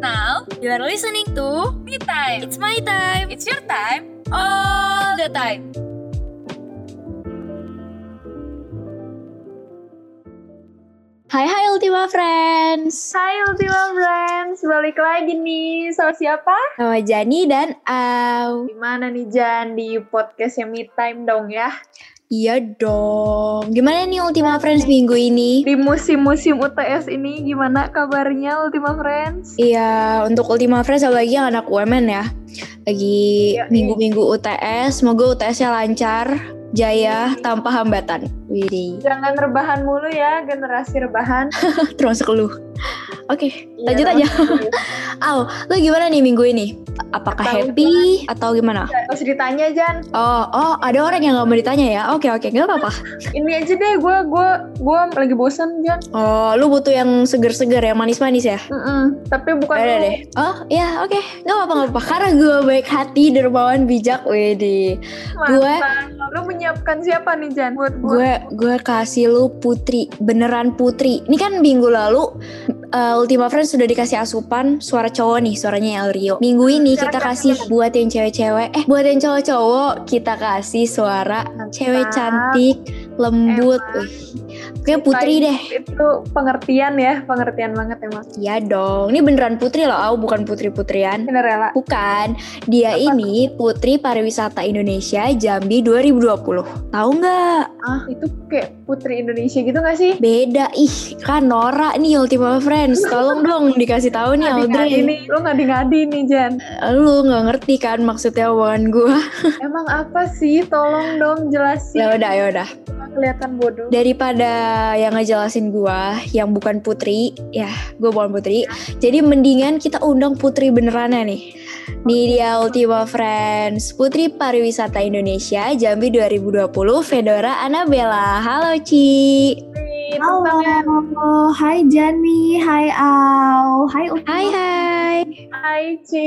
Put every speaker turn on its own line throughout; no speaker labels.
You are listening to
Me time.
It's My Time
It's your time.
All the Time. Hai hai Ultima Friends
Hai Ultima Friends, balik lagi nih sama siapa?
Sama Jani dan Au
Gimana nih Jan di podcastnya Me Time dong ya?
Iya dong Gimana nih Ultima Friends minggu ini?
Di musim-musim UTS ini gimana kabarnya Ultima Friends?
Iya, untuk Ultima Friends apalagi yang anak UMN ya. Lagi
Iya, iya.
minggu-minggu UTS, semoga UTS-nya lancar, jaya, tanpa hambatan. Widih,
Jangan rebahan mulu ya, generasi rebahan. Iya,
terus lu. Oke, Lanjut aja. Au, lu gimana nih minggu ini? Apakah
Tahu
happy atau gimana?
Gak usah ditanya Jan,
Oh, oh, ada orang yang nggak mau ditanya ya? Oke, oke, nggak apa-apa.
ini aja deh gue gue gue lagi bosen Jan.
Oh, lu butuh yang seger-seger, yang manis-manis ya?
Mm-mm. Tapi bukan
Ada
lu.
deh. Oh, iya, oke, nggak apa-apa, nggak apa-apa. Karena gue baik hati, dermawan, bijak, wedi. Gue-
Mantap. Lu menyiapkan siapa nih Jan? Buat gue.
gue gue kasih lu putri beneran putri ini kan minggu lalu uh, Ultima Friends sudah dikasih asupan suara cowok nih suaranya El Rio minggu ini
Suara
kita
cewek.
kasih buat yang cewek-cewek eh buat yang cowok-cowok kita kasih suara
Mantap.
cewek cantik lembut
Emang.
Wih, kayak putri deh
Itu pengertian ya, pengertian banget emang.
ya dong ini beneran putri loh Au bukan putri putrian
Cinderella.
Bukan, dia
Apa?
ini Putri Pariwisata Indonesia Jambi 2020. Tahu nggak?
Ah, itu kayak putri Indonesia gitu gak sih?
Beda ih kan Nora nih Ultima Friends tolong dong dikasih tahu nih
Ngadi-ngadi
Audrey
nih, lu ngadi-ngadi nih Jan.
lu nggak ngerti kan maksudnya omongan gue
Emang apa sih? Tolong dong
ya
jelasin.
udah ya udah
Kelihatan bodoh.
daripada yang ngejelasin gue yang bukan putri ya gue bukan putri jadi mendingan kita undang putri benerannya nih nih dia Ultima Friends Putri Pariwisata Indonesia Jambi 2020 Fedora Anabella halo Ci Oh.
Halo.
Halo, hai Jani, hai Au, hai Ultima.
Hai hai
Hai Ci.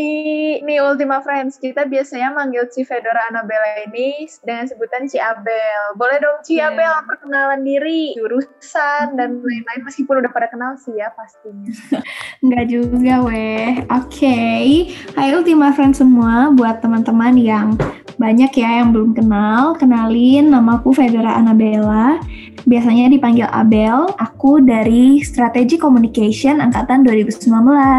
Nih Ultima Friends, kita biasanya manggil Ci Fedora Anabella ini dengan sebutan Ci Abel. Boleh dong Ci
Iya. Hmm.
Abel perkenalan diri, jurusan dan lain-lain meskipun udah pada kenal sih ya pastinya.
Enggak juga weh. Oke. Hai Ultima Friends semua buat teman-teman yang banyak ya yang belum kenal, kenalin namaku Fedora Anabella. Biasanya dipanggil Abel. Aku dari Strategi Communication angkatan 2019.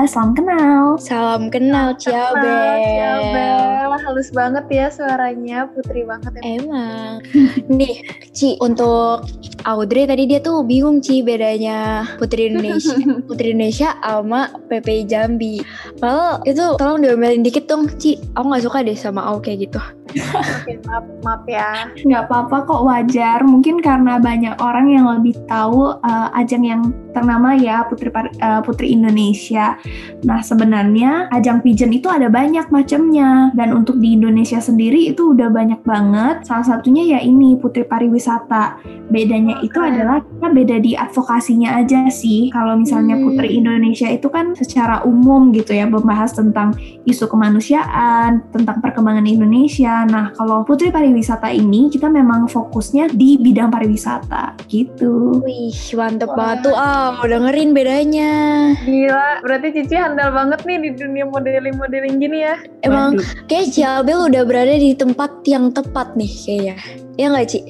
Salam kenal.
salam kenal Ci
Kenal, Ci
Abel
Abel. Halus banget ya suaranya, putri banget
Eh.
emang.
Emang. Nih, Ci, untuk Audrey tadi dia tuh bingung Ci bedanya Putri Indonesia, Putri Indonesia sama PPI Jambi. Padahal itu tolong diomelin dikit dong, Ci. Aku nggak suka deh sama Au kayak gitu.
Oke, maaf, maaf ya.
nggak apa-apa kok wajar mungkin karena banyak orang yang lebih tahu uh, ajang yang ternama ya putri Par- uh, putri Indonesia nah sebenarnya ajang pigeon itu ada banyak macamnya dan untuk di Indonesia sendiri itu udah banyak banget salah satunya ya ini putri pariwisata bedanya
Oke.
itu adalah kita beda di advokasinya aja sih kalau misalnya
Hmm.
putri Indonesia itu kan secara umum gitu ya membahas tentang isu kemanusiaan, tentang perkembangan Indonesia. Nah, kalau Putri Pariwisata ini kita memang fokusnya di bidang pariwisata gitu.
Wih, mantep
Wah.
banget tuh Au. Dengerin bedanya.
Gila, berarti Cici handal banget nih di dunia modeling-modeling gini ya.
Emang
Waduh,
kayak Ci Abel udah berada di tempat yang tepat nih kayaknya. Ya nggak, Ci?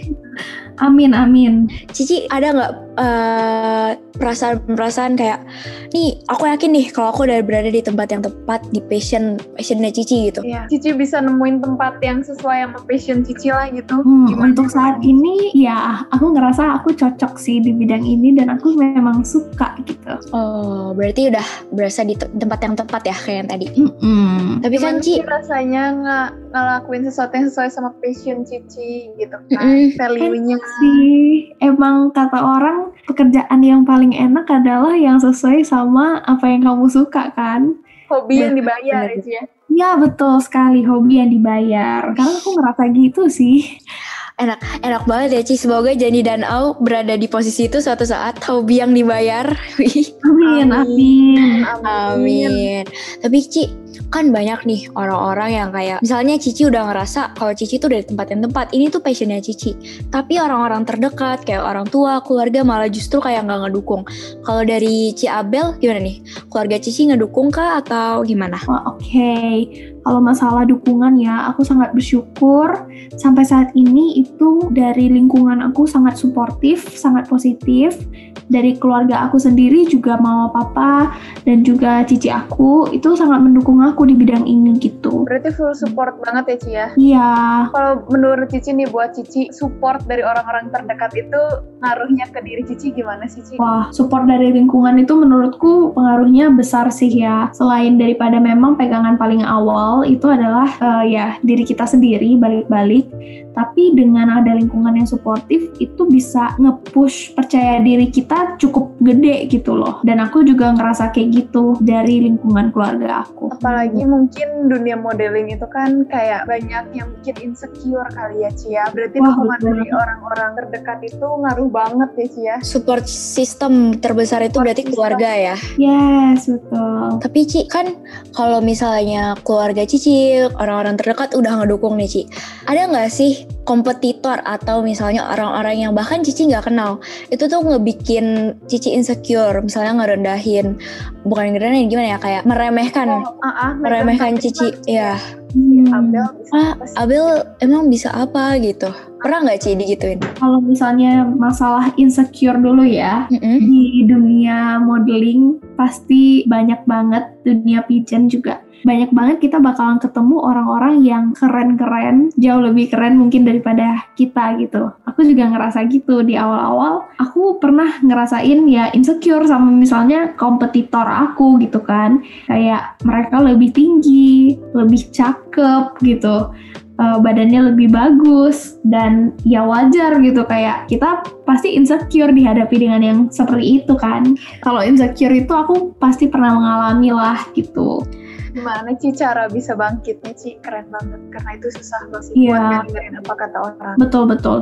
amin amin.
Cici ada nggak eh, perasaan-perasaan kayak nih aku yakin nih kalau aku udah berada di tempat yang tepat di passion passionnya Cici gitu.
Iya. Cici bisa nemuin tempat yang sesuai sama passion Cici lah gitu.
Hmm,
Gimana?
untuk saat ini ya aku ngerasa aku cocok sih di bidang ini dan aku memang suka gitu.
Oh berarti udah berasa di te- tempat yang tepat ya kayak yang tadi.
Mm-mm.
Tapi kan
Gimana
Ci,
sih rasanya nggak ngelakuin sesuatu yang sesuai sama passion Cici gitu kan.
mm-mm.
Value-nya.
sih emang kata orang pekerjaan yang paling enak adalah yang sesuai sama apa yang kamu suka kan
Hobi yang dibayar
Bener.
ya, Ci ya.
Ya betul sekali hobi yang dibayar. Karena aku ngerasa gitu sih.
enak banget ya Ci. Semoga Jani dan Au berada di posisi itu suatu saat hobi yang dibayar. Wih,
Amin,
Amin.
amin.
Amin. Tapi Ci, kan banyak nih orang-orang yang kayak misalnya Cici udah ngerasa kalau Cici tuh dari tempat yang tempat ini tuh passionnya Cici tapi orang-orang terdekat kayak orang tua keluarga malah justru kayak nggak ngedukung kalau dari Ciabel gimana nih keluarga Cici ngedukung kah atau gimana?
Wah, Oke, kalau masalah dukungan ya, aku sangat bersyukur sampai saat ini itu dari lingkungan aku sangat suportif, sangat positif. Dari keluarga aku sendiri juga mama papa dan juga cici aku itu sangat mendukung aku di bidang ini gitu.
Berarti full support banget ya Ci ya.
Iya,
Kalau menurut Cici nih buat Cici, support dari orang-orang terdekat itu ngaruhnya ke diri Cici gimana sih Ci?
Wah, support dari lingkungan itu menurutku pengaruhnya besar sih ya. Selain daripada memang pegangan paling awal itu adalah eh, ya diri kita sendiri balik-balik, tapi dengan ada lingkungan yang suportif itu bisa nge-push percaya diri kita cukup gede gitu loh. Dan aku juga ngerasa kayak gitu dari lingkungan keluarga aku.
Apalagi mungkin dunia modeling itu kan kayak banyak yang mungkin insecure kali ya Ci ya. Berarti
Wah,
dukungan
betul.
dari orang-orang terdekat itu ngaruh banget ya Ci ya.
Support system terbesar itu
Support
berarti
system.
keluarga ya.
Yes, betul.
Tapi Ci kan kalau misalnya keluarga Cici, orang-orang terdekat udah ngedukung nih Ci. Ada nggak sih kompetitor atau misalnya orang-orang yang bahkan Cici nggak kenal itu tuh ngebikin Cici insecure, misalnya ngerendahin, bukan ngerendahin gimana ya kayak meremehkan,
Ah, ah,
meremehkan Cici. Ya,
Hmm,
Abel bisa
Ah,
apa sih?
Abel emang bisa apa gitu? Pernah nggak Ci digituin?
Kalau misalnya masalah insecure dulu ya,
Mm-mm.
di dunia modeling pasti banyak banget dunia pigeon juga banyak banget kita bakalan ketemu orang-orang yang keren-keren jauh lebih keren mungkin daripada kita gitu aku juga ngerasa gitu di awal-awal aku pernah ngerasain ya insecure sama misalnya kompetitor aku gitu kan kayak mereka lebih tinggi lebih cakep gitu eh, badannya lebih bagus dan ya wajar gitu kayak kita pasti insecure dihadapi dengan yang seperti itu kan. Kalau insecure itu aku pasti pernah mengalami lah gitu.
Gimana Ci cara bisa bangkitnya Ci? Keren banget. Karena itu susah banget sih.
Iya.
Buat nggak dengerin apa kata orang.
Betul betul.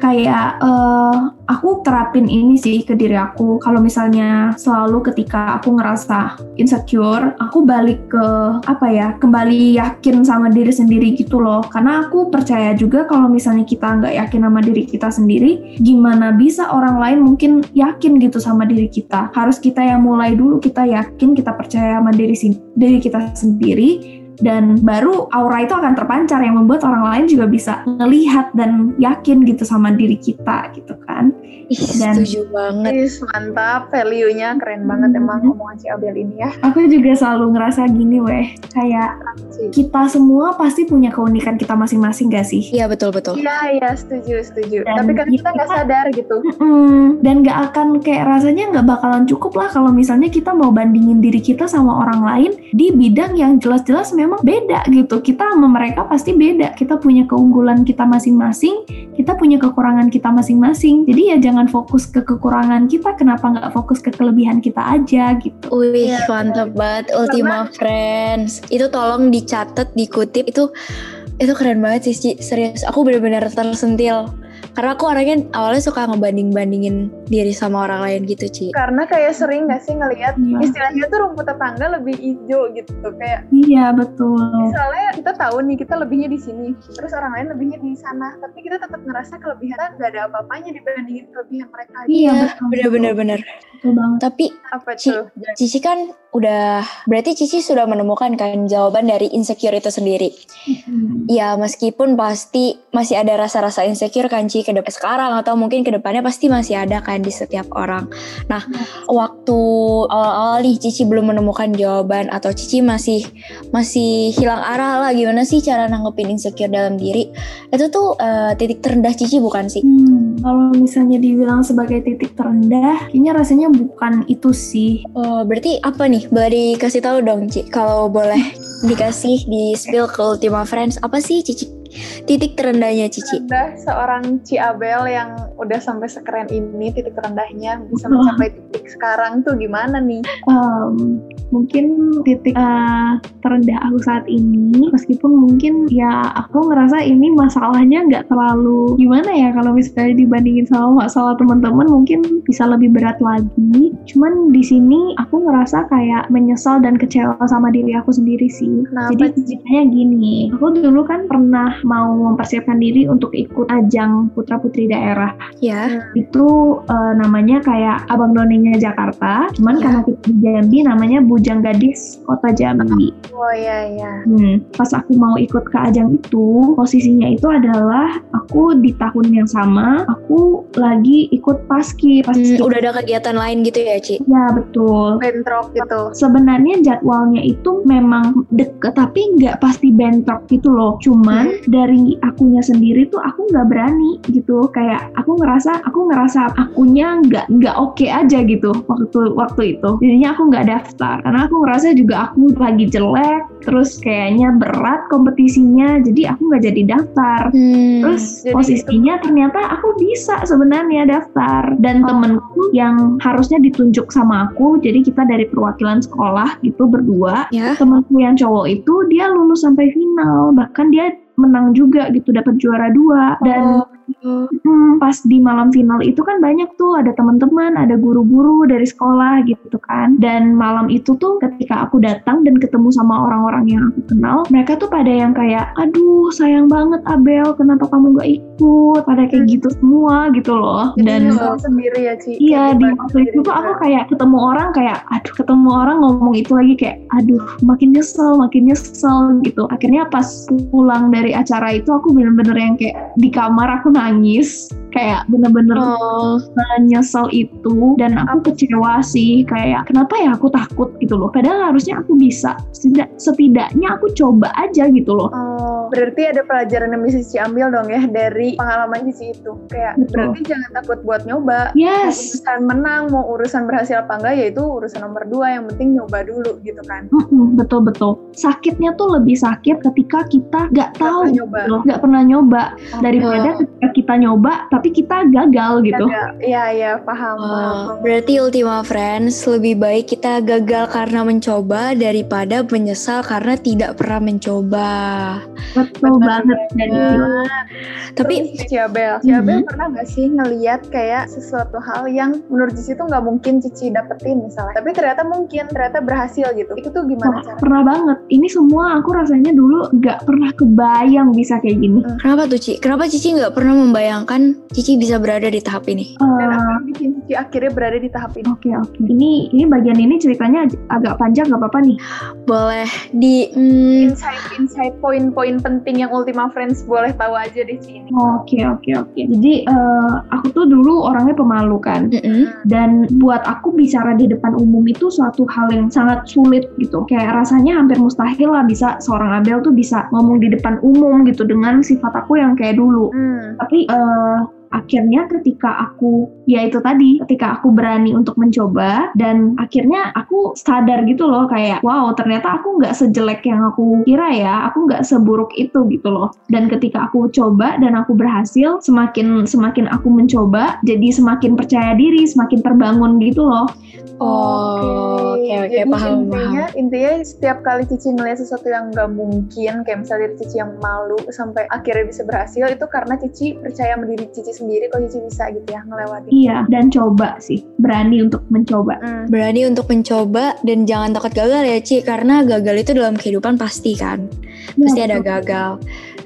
Kayak eh, aku terapin ini sih ke diri aku. Kalau misalnya selalu ketika aku ngerasa insecure, aku balik ke apa ya? Kembali yakin sama diri sendiri gitu loh. Karena aku percaya juga kalau misalnya kita nggak yakin sama diri kita sendiri, gimana bisa orang lain mungkin yakin gitu sama diri kita? Harus kita yang mulai dulu. Kita yakin, kita percaya sama diri sin- diri kita sendiri dan baru aura itu akan terpancar yang membuat orang lain juga bisa ngelihat dan yakin gitu sama diri kita gitu kan
Ih,
Dan-
setuju banget.
Is, mantap, value-nya keren banget
Hmm.
emang omongan Ci Abel ini ya.
aku juga selalu ngerasa gini weh kayak
Ci.
kita semua pasti punya keunikan kita masing-masing gak sih
Iya betul-betul.
Iya, iya, setuju, setuju.
Dan
Tapi kadang kita
kita-
nggak sadar gitu.
Mm-mm. Hmm, dan gak akan kayak rasanya nggak bakalan cukup lah kalau misalnya kita mau bandingin diri kita sama orang lain di bidang yang jelas-jelas memang beda gitu kita sama mereka pasti beda kita punya keunggulan kita masing-masing kita punya kekurangan kita masing-masing jadi ya jangan fokus ke kekurangan kita kenapa nggak fokus ke kelebihan kita aja gitu
Wih,
Iya,
mantep banget Ultima Friends. Itu tolong dicatat, dikutip itu itu keren banget sih, Ci. serius. Aku bener-bener tersentil. Karena aku orangnya awalnya suka ngebanding-bandingin diri sama orang lain gitu, Ci.
Karena kayak sering nggak sih ngelihat
Iya.
istilahnya tuh rumput tetangga lebih hijau gitu kayak
iya betul
misalnya kita tahu nih kita lebihnya di sini terus orang lain lebihnya di sana tapi kita tetap ngerasa kelebihan kita nggak ada apa-apanya dibandingin kelebihan mereka
Iya,
betul,
Bener-bener bener.
betul banget
Tapi
apa
Ci.
tuh
Cici kan udah berarti Cici sudah menemukan kan jawaban dari insecure itu sendiri.
Mm.
Ya, meskipun pasti masih ada rasa-rasa insecure kan Ci ke depan sekarang atau mungkin ke depannya pasti masih ada kan di setiap orang. Nah, waktu awal-awal nih Cici belum menemukan jawaban atau Cici masih masih hilang arah lah gimana sih cara nanggepin insecure dalam diri? Itu tuh eh, titik terendah Cici bukan sih?
Hmm, kalau misalnya dibilang sebagai titik terendah, kayaknya rasanya bukan itu sih.
Oh, berarti apa nih? Boleh dikasih tahu dong, Ci. Kalau boleh dikasih di spill ke Ultima Friends, apa sih Cici titik terendahnya Cici?
terendah seorang Ci Abel yang udah sampai sekeren ini titik terendahnya bisa mencapai titik sekarang tuh gimana nih
Em, mungkin titik eh, terendah aku saat ini meskipun mungkin ya aku ngerasa ini masalahnya nggak terlalu gimana ya kalau misalnya dibandingin sama masalah teman-teman mungkin bisa lebih berat lagi cuman di sini aku ngerasa kayak menyesal dan kecewa sama diri aku sendiri sih
Kenapa,
jadi ceritanya gini aku dulu kan pernah mau mempersiapkan diri untuk ikut ajang putra putri daerah
Ya,
itu eh, namanya kayak Abang Nonenya Jakarta, cuman
Ya.
karena kita di Jambi namanya Bujang Gadis Kota Jambi.
Oh iya iya.
Hmm, pas aku mau ikut ke ajang itu, posisinya itu adalah aku di tahun yang sama, aku lagi ikut paski, paski.
Hmm, udah ada kegiatan lain gitu ya, Ci?
Ya betul.
Bentrok gitu.
Sebenarnya jadwalnya itu memang deket tapi nggak pasti bentrok gitu loh. Cuman dari akunya sendiri tuh aku nggak berani gitu. Kayak aku ngerasa aku ngerasa akunya nggak nggak oke aja gitu waktu waktu itu. Jadinya aku nggak daftar karena aku ngerasa juga aku lagi jelek. Terus kayaknya berat kompetisinya. Jadi aku nggak jadi daftar.
Hmm.
Terus
jadi
posisinya ternyata aku bisa sebenarnya daftar
Oh.
dan temenku yang harusnya ditunjuk sama aku, jadi kita dari perwakilan sekolah gitu berdua.
ya,
Temenku yang cowok itu dia lulus sampai final, bahkan dia menang juga gitu dapat juara dua dan
Oh,
Hmm, pas di malam final itu kan banyak tuh ada teman-teman, ada guru-guru dari sekolah gitu kan. Dan malam itu tuh ketika aku datang dan ketemu sama orang-orang yang aku kenal, mereka tuh pada yang kayak, aduh sayang banget Abel, kenapa kamu gak ikut? Pada kayak
Hmm.
gitu semua gitu loh.
Jadi
Dan
nyesel sendiri ya Ci.
Iya
Kayak kan.
di
beban
waktu itu
sendiri
tuh
juga.
aku kayak ketemu orang kayak aduh ketemu orang ngomong itu lagi kayak aduh makin nyesel makin nyesel gitu akhirnya pas pulang dari acara itu aku bener-bener yang kayak di kamar aku nangis kayak bener-bener
oh,
nyesel itu dan aku kecewa sih kayak kenapa ya aku takut gitu loh padahal harusnya aku bisa Setidak- setidaknya aku coba aja gitu loh
Oh, berarti ada pelajaran yang bisa Cici ambil dong ya dari pengalaman Cici itu. Kayak
Betul.
berarti jangan takut buat nyoba. Mau
yes
urusan menang, mau urusan berhasil apa enggak, yaitu urusan nomor dua. Yang penting nyoba dulu gitu kan.
Mm-mm, betul-betul sakitnya tuh lebih sakit ketika kita nggak tahu
Nggak pernah
gitu loh, nggak pernah nyoba daripada
Oh.
ketika kita nyoba tapi kita gagal gitu.
Ada- Iya, iya, paham, paham.
oh. Berarti Ultima Friends lebih baik kita gagal karena mencoba daripada menyesal karena tidak pernah mencoba.
Betul banget Iya. dan
banget.
Tapi
Terus Cici Abel, Cici Abel
Mhm.
pernah nggak sih ngeliat kayak sesuatu hal yang menurut Cici tuh nggak mungkin Cici dapetin misalnya, tapi ternyata mungkin, ternyata berhasil gitu. Itu tuh gimana cara?
pernah banget. Ini semua aku rasanya dulu nggak pernah kebayang bisa kayak gini.
Kenapa tuh Ci? Kenapa Cici nggak pernah membayangkan Cici bisa berada di tahap ini?
Dan
Eh,
apa yang bikin Cici akhirnya berada di tahap ini?
Oke oke. Ini ini bagian ini ceritanya ag- agak panjang nggak apa-apa nih.
Boleh di hmm,
Insight-insight poin-poin penting yang Ultima Friends boleh tahu aja di sini.
Oke oke oke. Jadi eh, aku tuh dulu orangnya pemalu kan.
mm-mm.
dan buat aku bicara di depan umum itu suatu hal yang sangat sulit gitu kayak rasanya hampir mustahil lah bisa seorang Abel tuh bisa ngomong di depan umum gitu dengan sifat aku yang kayak dulu
Hmm.
tapi eh, akhirnya ketika aku ya itu tadi ketika aku berani untuk mencoba dan akhirnya aku sadar gitu loh kayak wow ternyata aku nggak sejelek yang aku kira ya aku nggak seburuk itu gitu loh dan ketika aku coba dan aku berhasil semakin semakin aku mencoba jadi semakin percaya diri semakin terbangun gitu loh
Oh, oke oke
Jadi
paham
intinya,
paham.
intinya setiap kali Cici ngeliat sesuatu yang nggak mungkin, kayak misalnya dari Cici yang malu sampai akhirnya bisa berhasil, itu karena Cici percaya sama diri Cici sendiri kalau Cici bisa gitu ya ngelewatin.
iya dan coba sih berani untuk mencoba
Hmm.
Berani untuk mencoba dan jangan takut gagal ya Ci, karena gagal itu dalam kehidupan pasti kan. Pasti
Iya,
ada
Nah,
gagal.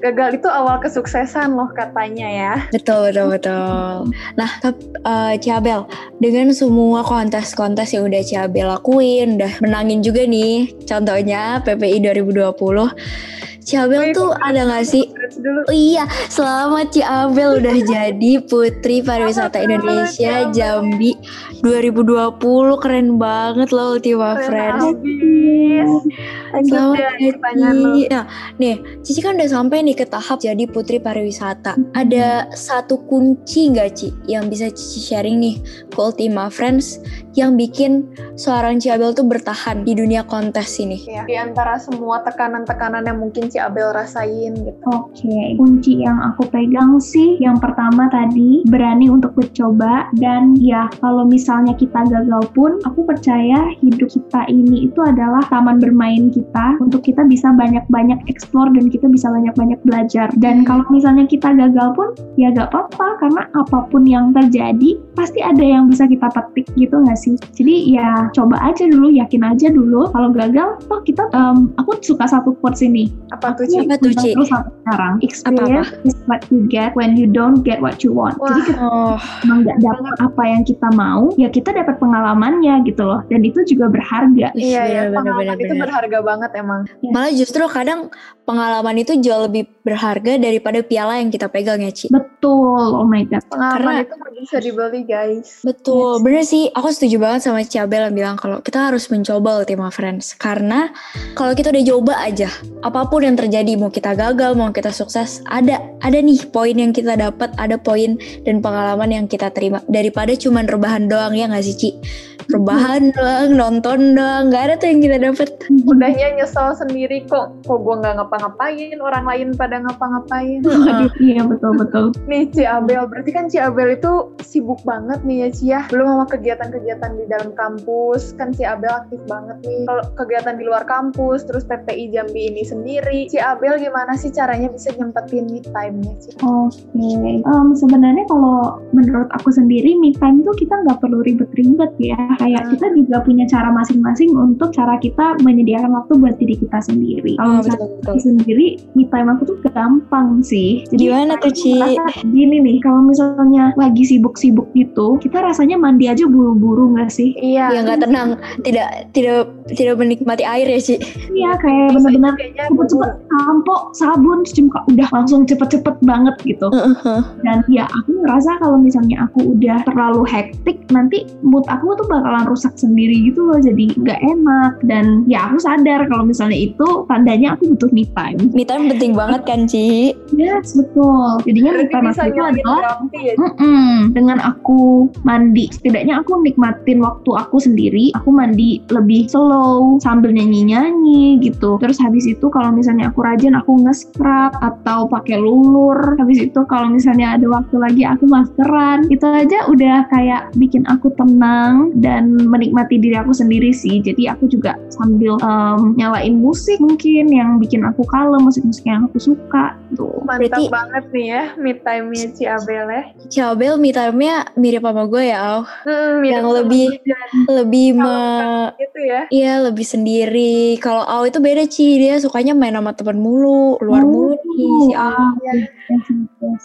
Gagal itu awal kesuksesan loh katanya ya.
Betul betul betul. Nah, tap, eh, Ciabel dengan semua kontes-kontes yang udah Ciabel lakuin, udah menangin juga nih. Contohnya PPI 2020. Ciabel
Wih,
tuh ada nggak sih?
Terus dulu
Oh iya, selamat Ciabel udah jadi Putri Pariwisata
Selamat,
Indonesia
Ci Abel.
Jambi 2020. Keren banget loh Ultima
Keren
Friends.
habis.
Selamat
Lanjut deh, pertanyaan lu.
Cici. Nah, nih, Cici kan udah sampai nih ke tahap jadi putri
Hmm.
pariwisata. Ada satu kunci nggak Ci yang bisa Cici sharing nih ke Ultima Friends yang bikin seorang Ciabel tuh bertahan di dunia kontes ini?
Ya, di antara semua tekanan-tekanan yang mungkin Ci Abel rasain gitu.
Oke, Kunci yang aku pegang sih yang pertama tadi berani untuk mencoba dan ya kalau misalnya kita gagal pun aku percaya hidup kita ini itu adalah taman bermain kita untuk kita bisa banyak-banyak explore dan kita bisa banyak-banyak belajar. Dan kalau misalnya kita gagal pun ya gak apa-apa karena apapun yang terjadi pasti ada yang bisa kita petik gitu nggak sih? Jadi ya coba aja dulu, yakin aja dulu. Kalau gagal, toh kita em, aku suka satu quotes ini.
Apa tuh, Ci?
Apa tuh, Ci?
Terus sampai Iya, sekarang, experience is what you get when you don't get what you want.
Wah.
Jadi kita
Oh,
emang nggak dapat apa yang kita mau, ya kita dapat pengalamannya gitu loh. Dan itu juga berharga.
Iya, iya,
benar-benar.
pengalaman itu berharga banget emang.
Malah justru kadang pengalaman itu jauh lebih berharga daripada piala yang kita pegang ya, Ci.
Betul, oh my god.
Pengalaman
Karena-
itu nggak bisa dibeli, guys.
Betul, bener sih. Aku setuju banget sama Ciabel yang bilang kalau kita harus mencoba Ultima Friends. Karena kalau kita udah coba aja, apapun yang terjadi, mau kita gagal, mau kita sukses, ada ada nih poin yang kita dapat, ada poin dan pengalaman yang kita terima. Daripada cuman rebahan doang ya nggak sih Ci? Rebahan doang, nonton doang, nggak ada tuh yang kita dapat.
Udahnya nyesel sendiri kok. Kok gue nggak ngapa-ngapain, orang lain pada ngapa-ngapain.
Waduh, iya betul-betul.
Nih Ci Abel, berarti kan Ci Abel itu sibuk banget nih ya Ci ya. Belum sama kegiatan-kegiatan di dalam kampus, kan Ci Abel aktif banget nih. Kalau kegiatan di luar kampus, terus PPI Jambi ini sendiri, Ci Abel gimana sih caranya bisa nyempetin me time-nya Ci?
Oke, Em, sebenarnya kalau menurut aku sendiri, me time tuh kita nggak perlu ribet-ribet ya. Kayak
Hmm.
kita juga punya cara masing-masing untuk cara kita menyediakan waktu buat diri kita sendiri.
Oh,
Kalau misalnya
Ah, betul.
aku sendiri, me time aku tuh gampang sih.
Gimana tuh,
aku
Ci?
merasa Gini nih, kalau misalnya lagi sibuk-sibuk gitu, kita rasanya mandi aja buru-buru nggak sih?
Yang
Iya.
Ya, nggak tenang, tidak tidak tidak menikmati air ya Ci.
Iya, kayak bener-bener cepet-cepet sampo, sabun, cuci muka, udah langsung cepet-cepet banget gitu.
Uh-huh.
dan ya aku ngerasa kalau misalnya aku udah terlalu hektik nanti mood aku tuh bakalan rusak sendiri gitu loh jadi nggak enak dan ya aku sadar kalau misalnya itu tandanya aku butuh me time
Me time penting banget kan Ci?
yes betul jadinya me
Berarti
time
bisa
aku itu
nyilangin
adalah
berarti ya Ci.
Mm-mm. dengan aku mandi setidaknya aku nikmatin waktu aku sendiri aku mandi lebih slow sambil nyanyi-nyanyi gitu terus habis itu kalau misalnya aku rajin aku nge-scrub atau pakai lulur habis itu kalau misalnya ada waktu lagi aku maskeran itu aja udah kayak bikin aku tenang dan menikmati diri aku sendiri sih jadi aku juga sambil em, nyalain musik mungkin yang bikin aku kalem musik-musik yang aku suka gitu. tuh
Mantap
Berarti-
banget nih ya me time-nya Ci Abel ya.
Ciabel me time-nya mirip sama gue ya, Au.
Hmm, mirip
Yang
sama
lebih-
gue juga
Lebih me...
ya, gitu ya.
Iya lebih sendiri. Kalau Au itu beda Ci, dia sukanya main sama temen mulu, keluar
Oh.
mulu nih si Au.
Ah, yes, yes.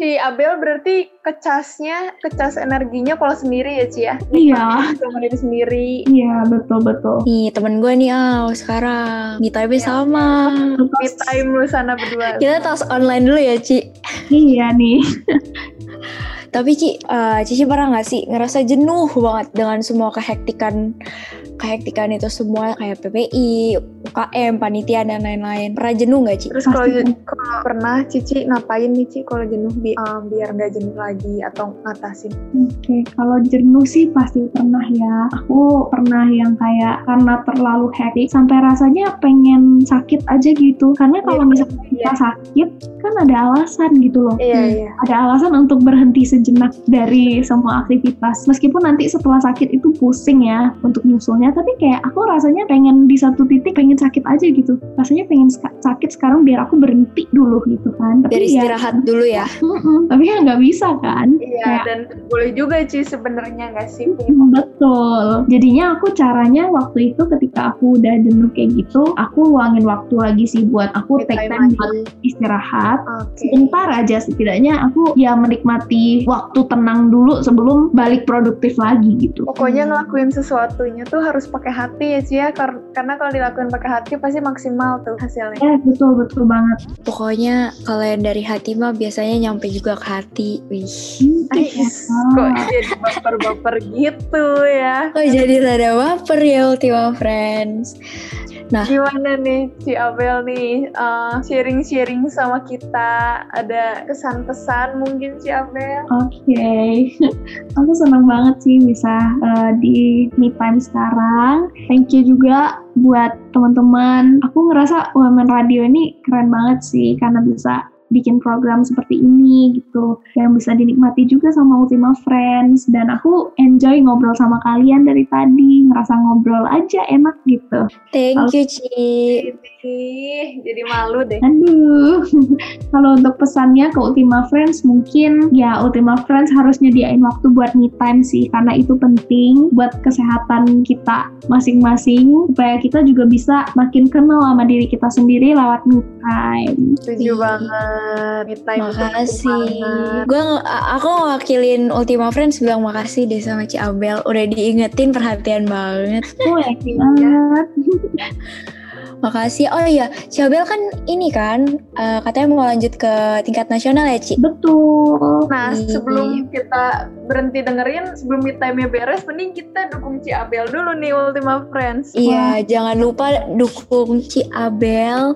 Ci Abel berarti kecasnya, kecas energinya kalau sendiri ya Ci ya?
Iya,
Sama diri sendiri.
iya betul betul.
Nih temen gue nih Au sekarang. Me time
Ya.
sama.
Me time lu sana berdua.
Kita tas online dulu ya Ci.
Iya nih.
Tapi Ci, eh, Cici pernah nggak sih ngerasa jenuh banget dengan semua kehektikan kehektikan itu semua kayak PPI, UKM, panitia dan lain-lain. Pernah jenuh nggak Ci?
Terus kalau
Pasti.
kalau pernah Cici ngapain nih Ci kalau jenuh bi- eh, biar nggak jenuh lagi atau ngatasin?
Oke, kalau jenuh sih pasti pernah ya. Aku pernah yang kayak karena terlalu hektik sampai rasanya pengen sakit aja gitu. Karena kalau
Iya,
misalnya
iya.
kita sakit kan ada alasan gitu loh.
Iya
Hmm.
iya.
Ada alasan untuk berhenti sejenak dari semua aktivitas. Meskipun nanti setelah sakit itu pusing ya untuk nyusulnya, tapi kayak aku rasanya pengen di satu titik pengen sakit aja gitu. Rasanya pengen ska- sakit sekarang biar aku berhenti dulu gitu kan. Tapi
Biar
ya-
istirahat dulu ya.
Mm-mm, tapi kan nggak bisa kan?
Iya
Kayak-
dan boleh juga Ci sebenarnya nggak sih punya
Mm, Betul. Jadinya aku caranya waktu itu ketika aku udah jenuh kayak gitu, aku luangin waktu lagi sih buat aku
me
take
time
time
lagi?
buat istirahat.
Oke.
Sebentar aja setidaknya aku ya menikmati waktu tenang dulu sebelum balik produktif lagi gitu.
Pokoknya ngelakuin sesuatunya tuh harus pakai hati ya Ci ya kar- karena kalau dilakuin pakai hati pasti maksimal tuh hasilnya.
Eh betul betul banget.
Pokoknya kalau yang dari hati mah biasanya nyampe juga ke hati. Wih.
Ais, kok jadi baper-baper gitu ya?
Kok Oh, jadi rada baper ya Ultima Friends?
Gimana nih Ci Abel nih eh, sharing-sharing sama kita ada kesan-pesan mungkin Ci Abel?
Oke, aku senang banget sih bisa uh, di me time sekarang. Thank you juga buat teman-teman. Aku ngerasa Women Radio ini keren banget sih karena bisa bikin program seperti ini gitu yang bisa dinikmati juga sama Ultima Friends dan aku enjoy ngobrol sama kalian dari tadi ngerasa ngobrol aja enak gitu
Thank you, Ci.
Ih, jadi malu deh.
aduh kalau untuk pesannya ke Ultima Friends mungkin ya Ultima Friends harus nyediain waktu buat me time sih karena itu penting buat kesehatan kita masing-masing supaya kita juga bisa makin kenal sama diri kita sendiri lewat me time
Setuju
Ih.
banget. Me time itu penting
Makasih.
banget.
Gue aku wakilin Ultima Friends bilang makasih deh sama Ci Abel. Udah diingetin perhatian banget.
boleh
ya.
banget
Makasih. Oh iya, Ci Abel kan ini kan eh, katanya mau lanjut ke tingkat nasional ya, Ci.
betul
Nah,
Ih. iya.
sebelum kita berhenti dengerin, sebelum me time-nya beres, mending kita dukung Ci Abel dulu nih Ultima Friends.
Iya, jangan lupa dukung Ci Abel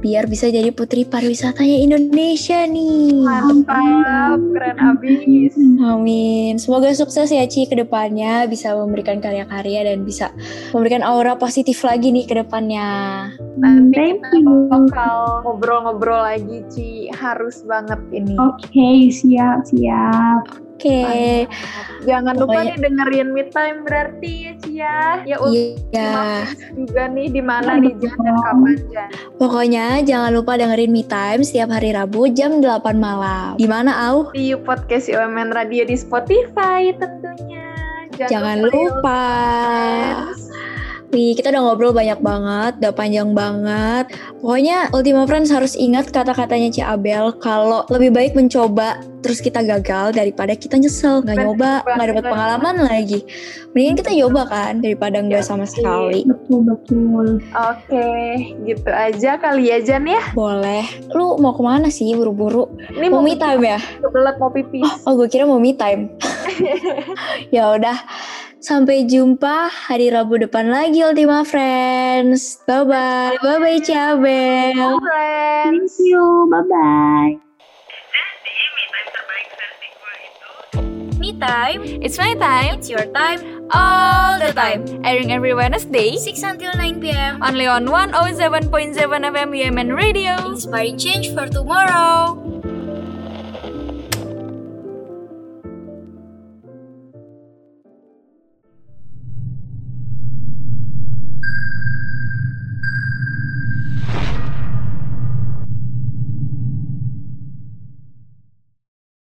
biar bisa jadi putri pariwisatanya Indonesia nih.
Mantap, keren abis.
Mm-hmm.
Amin. Semoga sukses ya Ci ke depannya bisa memberikan karya-karya dan bisa memberikan aura positif lagi nih ke depannya.
Nanti
thank
kita
you
bakal ngobrol-ngobrol lagi Ci, harus banget ini.
Oh,
Oke, siap, siap.
Oke.
Jangan lupa
Pokoknya-
nih dengerin me time berarti ya Ci ya. Ya Ultima
Iya.
Friends juga nih di mana nih Jan dan kapan Jan.
Pokoknya jangan lupa dengerin Me Time setiap hari Rabu jam 8 malam. Di mana Au?
Di podcast UMN Radio di Spotify tentunya.
Jangan
ya,
lupa.
Friends.
Wih, kita udah ngobrol banyak banget, udah panjang banget. Pokoknya Ultima Friends harus ingat kata-katanya Ci Abel kalau lebih baik mencoba terus kita gagal daripada kita nyesel nggak
Bener
nyoba nggak dapat
banget.
pengalaman lagi. Mendingan kita nyoba kan daripada nggak
Iya.
sama sekali.
Betul, betul.
Oke, gitu aja kali ya Jan ya.
Boleh. Lu mau kemana sih buru-buru?
Ini
Mau me time ya?
kebelet mau pipis.
Oh, gue kira mau me time. ya udah. Sampai jumpa hari Rabu depan lagi Ultima Friends. Bye bye. Bye bye Cabel.
Thank
Friends.
you, bye-bye.
Me time. It's my time. It's your time. All the time. Airing every Wednesday. 6 until 9 oh p.m. Only on 107.7 FM UMN Radio. Inspiring change for tomorrow.